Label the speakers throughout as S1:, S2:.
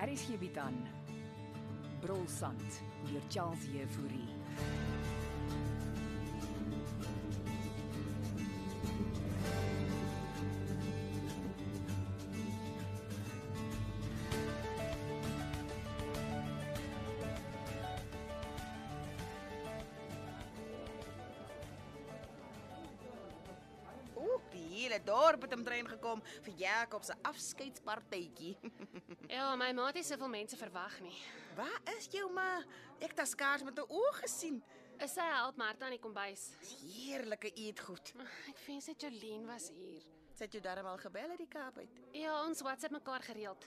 S1: RSG bied aan Brolsand deur Charles Jefouri.
S2: Oep, die hele dorp het omtrent gekom vir Jakob se afskeidspartytjie.
S3: Ja, my maat het soveel mense verwag nie.
S2: Waar is jou ma? Ek het haar skaars met 'n oog gesien.
S3: Is sy help Martha aan die kombuis?
S2: Dis Heerlike eetgoed.
S3: Ek wens net Jolien was hier.
S2: Sy het jou darm al gebel uit die Kaap uit.
S3: Ja, ons WhatsApp mekaar gereeld.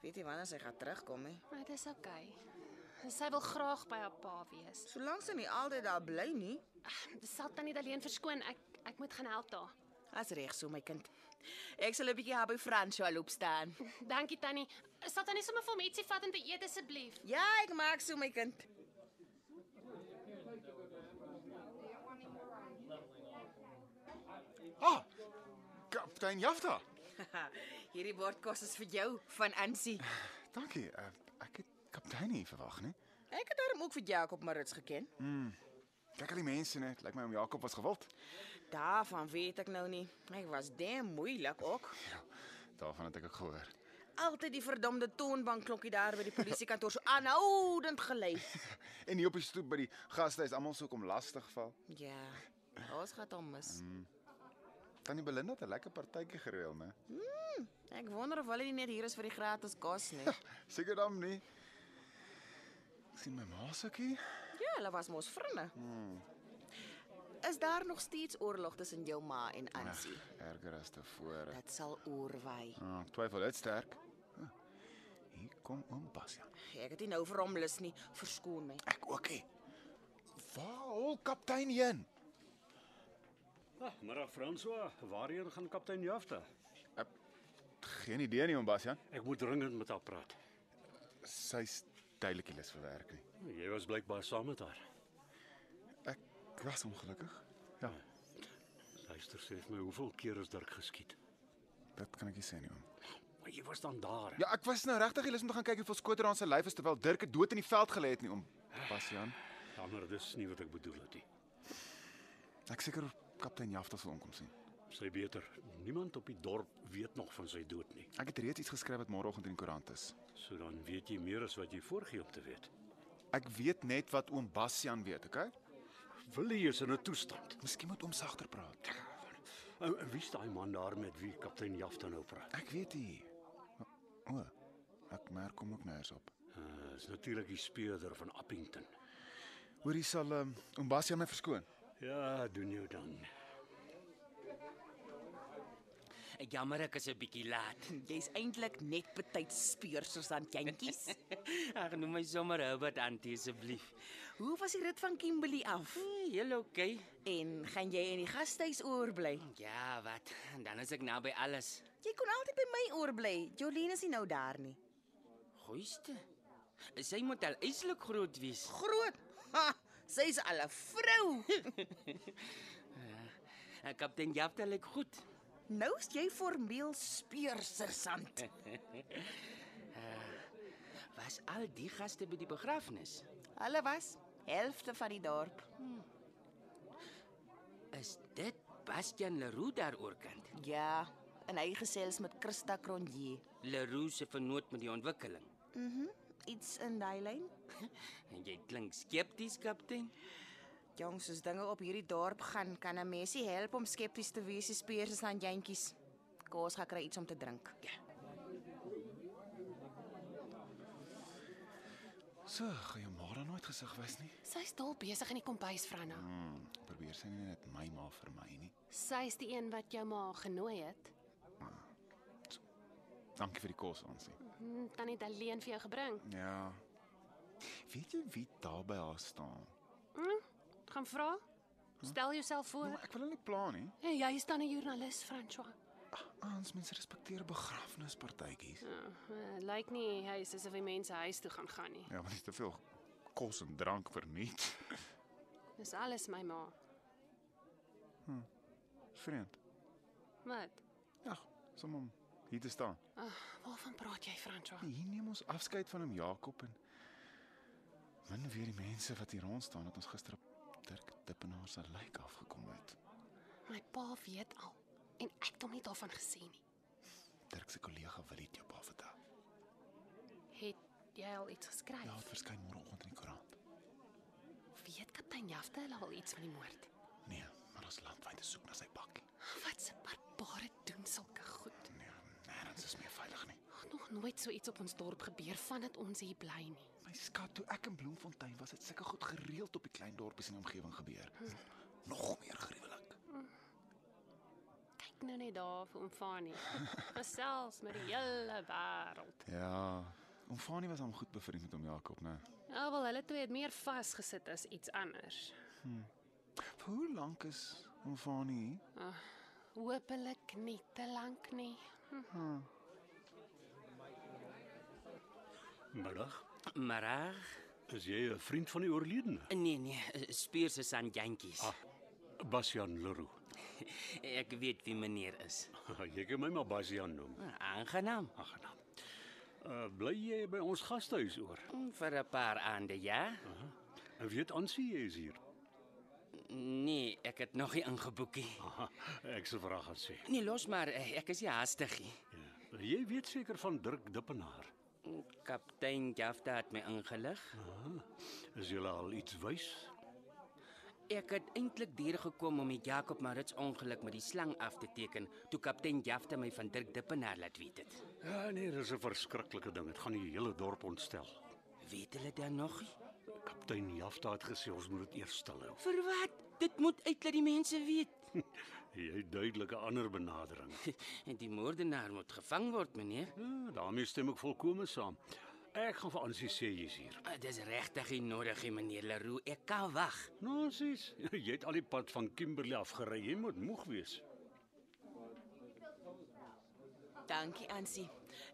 S2: Weet jy wanneer sy gaan terugkom hè?
S3: Maar dis oukei. Okay. Sy wil graag by haar pa wees.
S2: Solank sy nie altyd daar bly nie.
S3: Ag, Dis sal tannie Daleen verskoon. Ek ek moet gaan help daar.
S2: As reg so my kind. Ek sal 'n bietjie haar by Franswa loop staan.
S3: Dankie tannie. Sal tannie sommer vir my ietsie vat om te eet asseblief?
S2: Ja, ek maak so my kind.
S4: Ah! Kaptein Jafta.
S2: Haha, Hierdie bord kos is vir jou van Ansie.
S4: Dankie. Uh, ek het kaptein nie verwag nie.
S2: Ek het haar ook vir Jakob Marits geken.
S4: Kyk al die mense net, lyk my om Jakob was gewild.
S2: Daarvan weet ek nou nie. Hy was damn moeilik ook.
S4: Ja, daarvan het ek ook gehoor.
S2: Altyd die verdomde toonbankklokkie daar by die polisiekantoor so aanhoudend gelei.
S4: En hier op die stoep by die gastehuis almal so kom lastig val.
S2: Ja. Ons gaan hom mis.
S4: Tannie Belinda het 'n lekker partytjie gereël, né?
S2: Ek wonder of hulle nie net hier is vir die gratis kos nie.
S4: Seker dan nie. Ek sien my ma sukkie.
S2: Ja, hulle was mos vriende. Is daar nog steeds oorlog tussen jou ma en Ansie?
S4: Erger as tevore.
S2: Dit sal oorwaai.
S4: Ah, ek twyfel dit sterk. Ah, Hier kom oom Basia.
S2: Ek het nie nou vir hom lus nie. Verskoon my.
S4: Ek ook nie. Waar hol kaptein heen?
S5: Ah, maar François, waarheen gaan kaptein Jafta?
S4: Geen idee nie, oom Basia.
S5: Ek moet dringend met haar praat.
S4: Sy's duidelik nie lus vir werk nie.
S5: Jy was blykbaar saam met haar.
S4: Ek was ongelukkig. Ja,
S5: Luister sê vir my, hoeveel keer is Dirk geskiet?
S4: dit kan ek nie sê nie oom.
S5: Maar jy was dan daar.
S4: Ja, ek was nou regtig hier lus om te gaan kyk hoeveel skote daar aan sy lyf is terwyl Dirk het dood in die veld gelê het nie oom. Bastian,
S5: ja maar dis nie wat ek bedoel het nie.
S4: ek seker kaptein Jafta sal onkom sien.
S5: Sy beter. Niemand op die dorp weet nog van sy dood nie.
S4: Ek het reeds iets geskryf wat môreoggend in die koerant is.
S5: So dan weet jy meer as wat jy voorgee om te weet.
S4: Ek weet net wat oom Bastian weet, okay?
S5: Willie is in 'n toestand.
S4: Miskien moet oom sagter praat.
S5: En en wie is daai man daar met wie kaptein Jafta nou praat?
S4: Ek weet nie. O, o, ek merk hom ook nêrens op.
S5: Uh, is natuurlik die speurder van Appington.
S4: Hoor, hier sal um, oom Bastian my verskoon.
S5: Ja, doen jou dan.
S6: Ek jammer ek is 'n bietjie laat.
S2: Jy's eintlik net betyds speur soos aan jantjies.
S6: Ag noem my sommer Herbert Antie asseblief.
S2: Hoe was die rit van Kimberley af?
S6: Nee, heel oukei.
S2: En gaan jy in die gastehuis oorbly?
S6: Ja, wat? Dan is ek naby alles.
S2: Jy kon altyd by my oorbly. Jolene is nie nou daar nie.
S6: Goeiste. Sy moet al eislik groot wees.
S2: Groot. Ha, sy's al 'n vrou.
S6: Ek Eh, kaptein Jafta lyk goed.
S2: nou is jy formeel speur sersant.
S6: Was al die gaste by die begrafnis?
S2: Hulle was helfte van die dorp.
S6: Is dit Bastian Leroux daar oorkant?
S2: Ja, en hy gesels met Christa Cronje.
S6: Leroux se vernoot met die ontwikkeling.
S2: Iets in daai lyn.
S6: En jy klink skepties, kaptein.
S2: Jongs, as dinge op hierdie dorp gaan, kan 'n mensie help om skepties te wees, speers aan jantjies. Kaas gaan kry iets om te drink.
S4: So, gaan jou ma dan nooit gesig wys nie.
S3: Sy's dol besig in die kombuis, Franna.
S4: Hmm, probeer sy nie net my ma vir my nie.
S3: Sy's die een wat jou ma genooi het.
S4: Dankie vir die kos, Ansie.
S3: Hm, Tannie Daleen vir jou gebring.
S4: Ja. Weet jy wie daar by haar staan?
S3: Gaan vra. Stel jouself voor.
S4: Ja, Maar ek wil hulle nie pla nie.
S3: Hey, Ja, jy is dan 'n joernalis, François.
S4: Ah, ons mense respekteer begrafnispartytjies.
S3: Uh, Lyk nie hy is asof hy mense huis toe gaan gaan nie.
S4: Ja, want dit is te veel kos en drank verniet.
S3: Dis alles my ma.
S4: Vreemd.
S3: Wat?
S4: Ja, sommer hier te staan. Nee,
S3: Waarvan praat jy, François?
S4: Hier neem ons afskeid van hom Jakob en min weer die mense wat hier rond staan dat ons gister op Dirk Dippenaar se lijk afgekom het.
S3: My pa weet al en ek het hom nie daarvan gesê nie.
S4: Dirk se kollega wil dit jou pa vertel.
S3: Het jy al iets geskryf?
S4: Ja, dit verskyn môreoggend in die koerant.
S3: Weet kaptein Jafte hulle al iets van die moord?
S4: Nee, maar ons landwyd soek na sy bakkie.
S3: Wat se barbare doen sulke goed.
S4: Nee, nêrens is meer veilig nie.
S3: Het nog nooit so iets op ons dorp gebeur vandat ons hier bly nie.
S4: My skat, toe ek in Bloemfontein was, het sulke goed gereeld op die klein dorpies in die omgewing gebeur. Nog meer gruwelik.
S3: Kyk nou net daar vir Omfani. Gesels met die hele wêreld.
S4: Ja, oom Fanie was hom goed bevriend met hom Jakob, né?
S3: Alhoewel Ja, hulle twee het meer vasgesit as iets anders.
S4: Vir hoe lank is oom Fanie hier?
S3: Hoopelik nie te lank nie.
S5: Middag.
S6: Maar
S5: Is jy 'n vriend van die oorledene?
S6: nee nee, Spiers is aan jantjies.
S5: Ah. Bastian Leroux.
S6: Ek weet wie meneer is.
S5: jy kan my maar Bastian noem.
S6: Aangenaam.
S5: Ag nee. Uh, bly jy by ons gastehuis oor?
S6: Mm, Vir 'n paar aande, ja?
S5: En weet Ansie jy is hier.
S6: Nee, ek het nog nie ingeboekie.
S5: Aha, ek se vraag gaan sê.
S6: Nee, los maar, eh, ek is nie haastig nie.
S5: Ja. Jy weet seker van Dirk Dippenaar.
S6: Kaptein Jafta het my ingelig.
S5: Is jy al iets wys?
S6: Ek het eintlik deur gekom om die Jakob Marits ongeluk met die slang af te teken, toe kaptein Jafta my van Dirk Dippenaar laat weet het.
S5: Ja, nee, dis 'n verskriklike ding. Dit gaan die hele dorp ontstel.
S6: Weet hulle dan nog? nie?
S5: Kaptein Jafta het gesê ons moet dit eers stil hou.
S6: Vir wat? Dit moet uit dat die mense weet.
S5: Jy het duidelik 'n ander benadering.
S6: En die moordenaar moet gevang word, meneer.
S5: Ja, daarmee stem ek volkome saam. Ek gaan vir Ansie sê jy's hier.
S6: Ah, Dis regtig nie nodig, nie, meneer Leroux. Ek kan wag.
S5: Nonsies. Nou, Jy het al die pad van Kimberley af gery. Jy moet moeg wees.
S2: Dankie Ansie.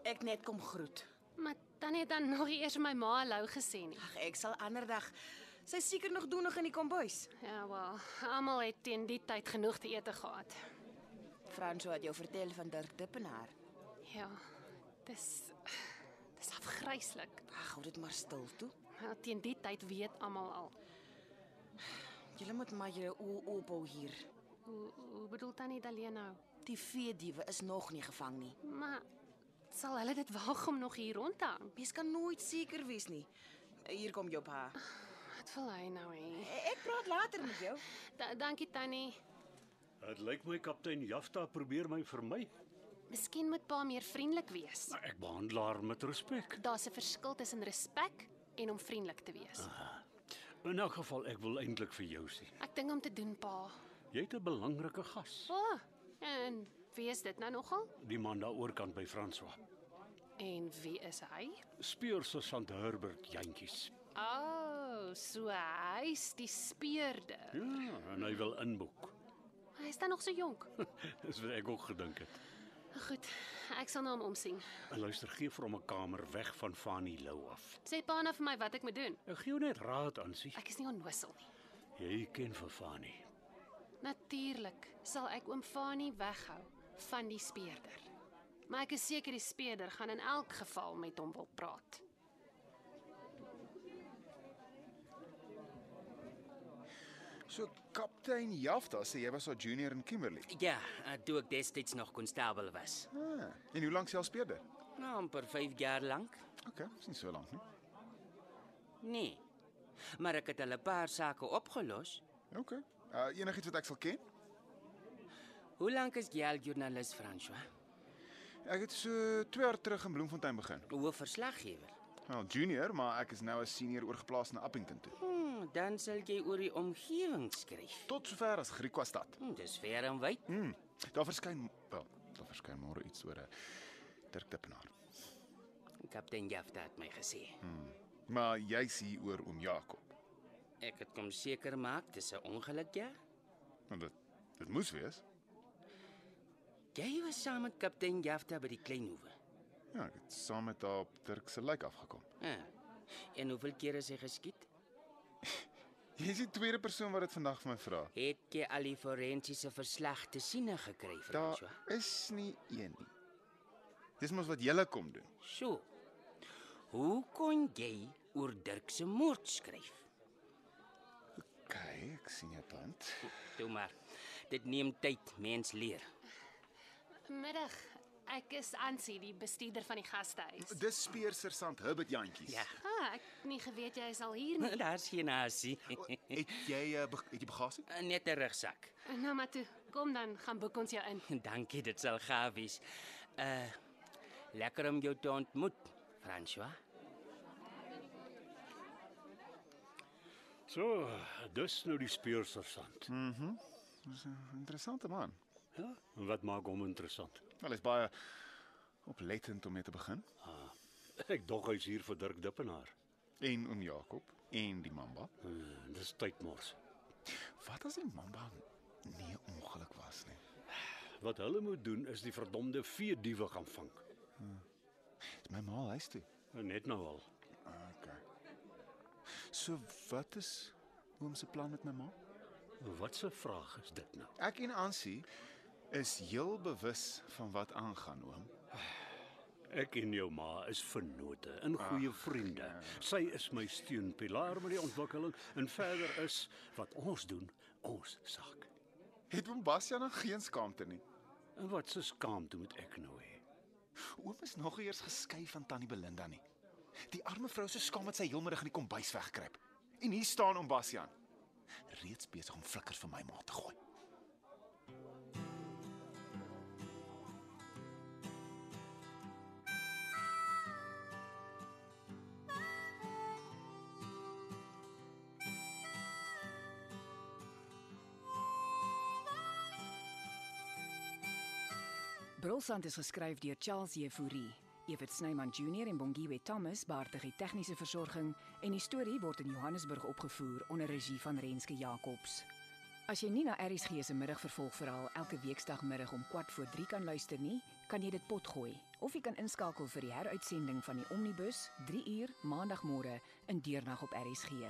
S2: Ek net kom groet.
S3: Maar tannie het dan nog nie eers my ma hallo gesê nie.
S2: Ag, ek sal ander dag. Sy is seker nog doenig in die kombuis.
S3: Ja, wel, almal het teen die tyd genoeg te eet gehad.
S2: Franco het jou vertel van Dirk Dippenaar.
S3: Ja. Dis dis afgryslik.
S2: Ag, hou dit maar stil toe.
S3: Maar teen die tyd weet almal al.
S2: Julle moet maar julle oë ophou hier.
S3: Hoe hoe bedoel tannie Daleen nou?
S2: Die veediewe is nog nie gevang nie.
S3: Maar sal hulle dit waag om nog hier rond te hang?
S2: Mens kan nooit seker wees nie. Hier kom jou pa.
S3: Wat wil hy nou hê?
S2: E- Ek praat later met jou.
S3: Da, dankie tannie.
S5: Dit lyk my kaptein Jafta probeer my vermy.
S3: Miskien moet pa meer vriendelik wees.
S5: Maar ek behandel haar met respek.
S3: Daar's 'n verskil tussen respek en om vriendelik te wees.
S5: In 'n geval ek wil eintlik vir jou sê.
S3: Ek dink om te doen, pa.
S5: Jy het 'n belangrike gas.
S3: O, oh, en wie is dit nou nogal?
S5: Die man daaroor kan by François.
S3: En wie is hy?
S5: Speur se Sant Herbert jantjies.
S3: O, oh, so hy's die speurder.
S5: Ja, en hy wil inboek.
S3: Hy's dan nog so jonk.
S5: Dis wat ek ook gedink het.
S3: Goed, ek sal na hom omsien.
S5: En luister, gee vir hom 'n kamer weg van Fanny Lou af.
S3: Sê pa nou vir my wat ek moet doen.
S5: Ek gee jou net raad aan sy.
S3: Ek is nie onnoosel nie.
S5: Jy ken vir Fanny.
S3: Natuurlik sal ek oom Fanie weghou van die speurder. Maar ek is seker die speurder gaan in elk geval met hom wil praat.
S4: So kaptein Jafta sê jy was haar junior in Kimberley.
S6: Ja, eh, toe ek destyds nog konstabel was.
S4: Ah, en hoe lank self speelde?
S6: Nou amper 5 jaar lank.
S4: Okay, dis nie so lank nie.
S6: Nee. Maar ek het al 'n paar sake opgelos.
S4: Okay. Uh enigiets wat ek sal ken?
S6: Hoe lank is jy al joernalis, François?
S4: Ek het so 2 jaar terug in Bloemfontein begin.
S6: Hoe verslaggewer?
S4: Wel, junior, maar ek is nou 'n senior oorgeplaas na Appington toe.
S6: Hmm, dan sal jy oor die omgewing skryf.
S4: Tot sover as Griekwa stad.
S6: Hmm, dis ver en wyd.
S4: Hmm. Daar verskyn wel, daar verskyn môre iets oor 'n Dirk Dippenaar.
S6: Kaptein Jafta het my gesê.
S4: Maar jy sien oor oom Jakob.
S6: Ek het kom seker maak dis 'n ongeluk, ja?
S4: Want dit dit moes wees.
S6: Jy was saam met kaptein Jafta by die klein hoeve.
S4: Ja, ek het saam met haar op Dirk se lijk afgekom.
S6: Ah, en hoeveel kere is hy geskiet?
S4: Jy is die tweede persoon wat dit vandag vir my vra.
S6: Het jy al die forensiese verslag te sien gekry,
S4: Daar
S6: François?
S4: is nie een nie. Dis mos wat julle kom doen.
S6: Sjoe. Hoe kon jy oor Dirk se moord skryf?
S4: OK, ek sien jou punt.
S6: Toe maar. Dit neem tyd, mens leer.
S3: Middag. Ek is Ansie, die bestuurder van die gastehuis.
S4: Dis speer sergeant Herbert Jantjies.
S6: Ja.
S3: Ah, ek het nie geweet jy is al hier nie.
S6: Daar's geen hasie.
S4: Het jy eh, bag- het jy bagasie?
S6: Net 'n rugsak.
S3: Nou maar toe, kom dan, gaan boek ons jou in.
S6: Dankie, dit sal gaaf wees. Uh lekker om jou te ontmoet, François.
S5: So, dis nou die speursersant. Hm.
S4: Dis 'n interessante man.
S5: Ja, en wat maak hom interessant?
S4: Wel is baie oplettend om mee te begin.
S5: Ek dog hy's hier vir Dirk Dippenaar.
S4: En oom Jakob en die mamba.
S5: Hmm, dis tydmors.
S4: Wat as die mamba nie 'n ongeluk was nie?
S5: Wat hulle moet doen is die verdomde vee diewe gaan vang.
S4: Dis my ma huis toe.
S5: Net nou al.
S4: Okay. So wat is oom se plan met my ma?
S5: Wat 'n vraag is dit nou?
S4: Ek en Ansie is heel bewus van wat aangaan, oom.
S5: Ek en jou ma is vennote, in goeie vriende. Sy is my steunpilaar met die ontwikkeling en verder is wat ons doen ons saak.
S4: Het oom Bastian nog geen skaamte nie.
S5: En wat se skaamte moet ek nou hê?
S4: Oom is nog eers geskei van tannie Belinda nie. Die arme vrou se skaam het sy heelmiddag in die kombuis wegkruip. En hier staan oom Bastian, reeds besig om flikkers vir my ma te gooi.
S1: Brolsand is geskryf deur Charles Jefouri. Evert Snyman Junior en Bongiwe Thomas baartig die tegniese versorging en die storie word in Johannesburg opgevoer onder regie van Renske Jacobs. As jy nie na ERG se middagvervolgverhaal elke weekdagmiddag om 4:45 kan luister nie, kan jy dit potgooi of jy kan inskakel vir die heruitsending van die Omnibus 3 uur maandagmôre in deernag op ERG.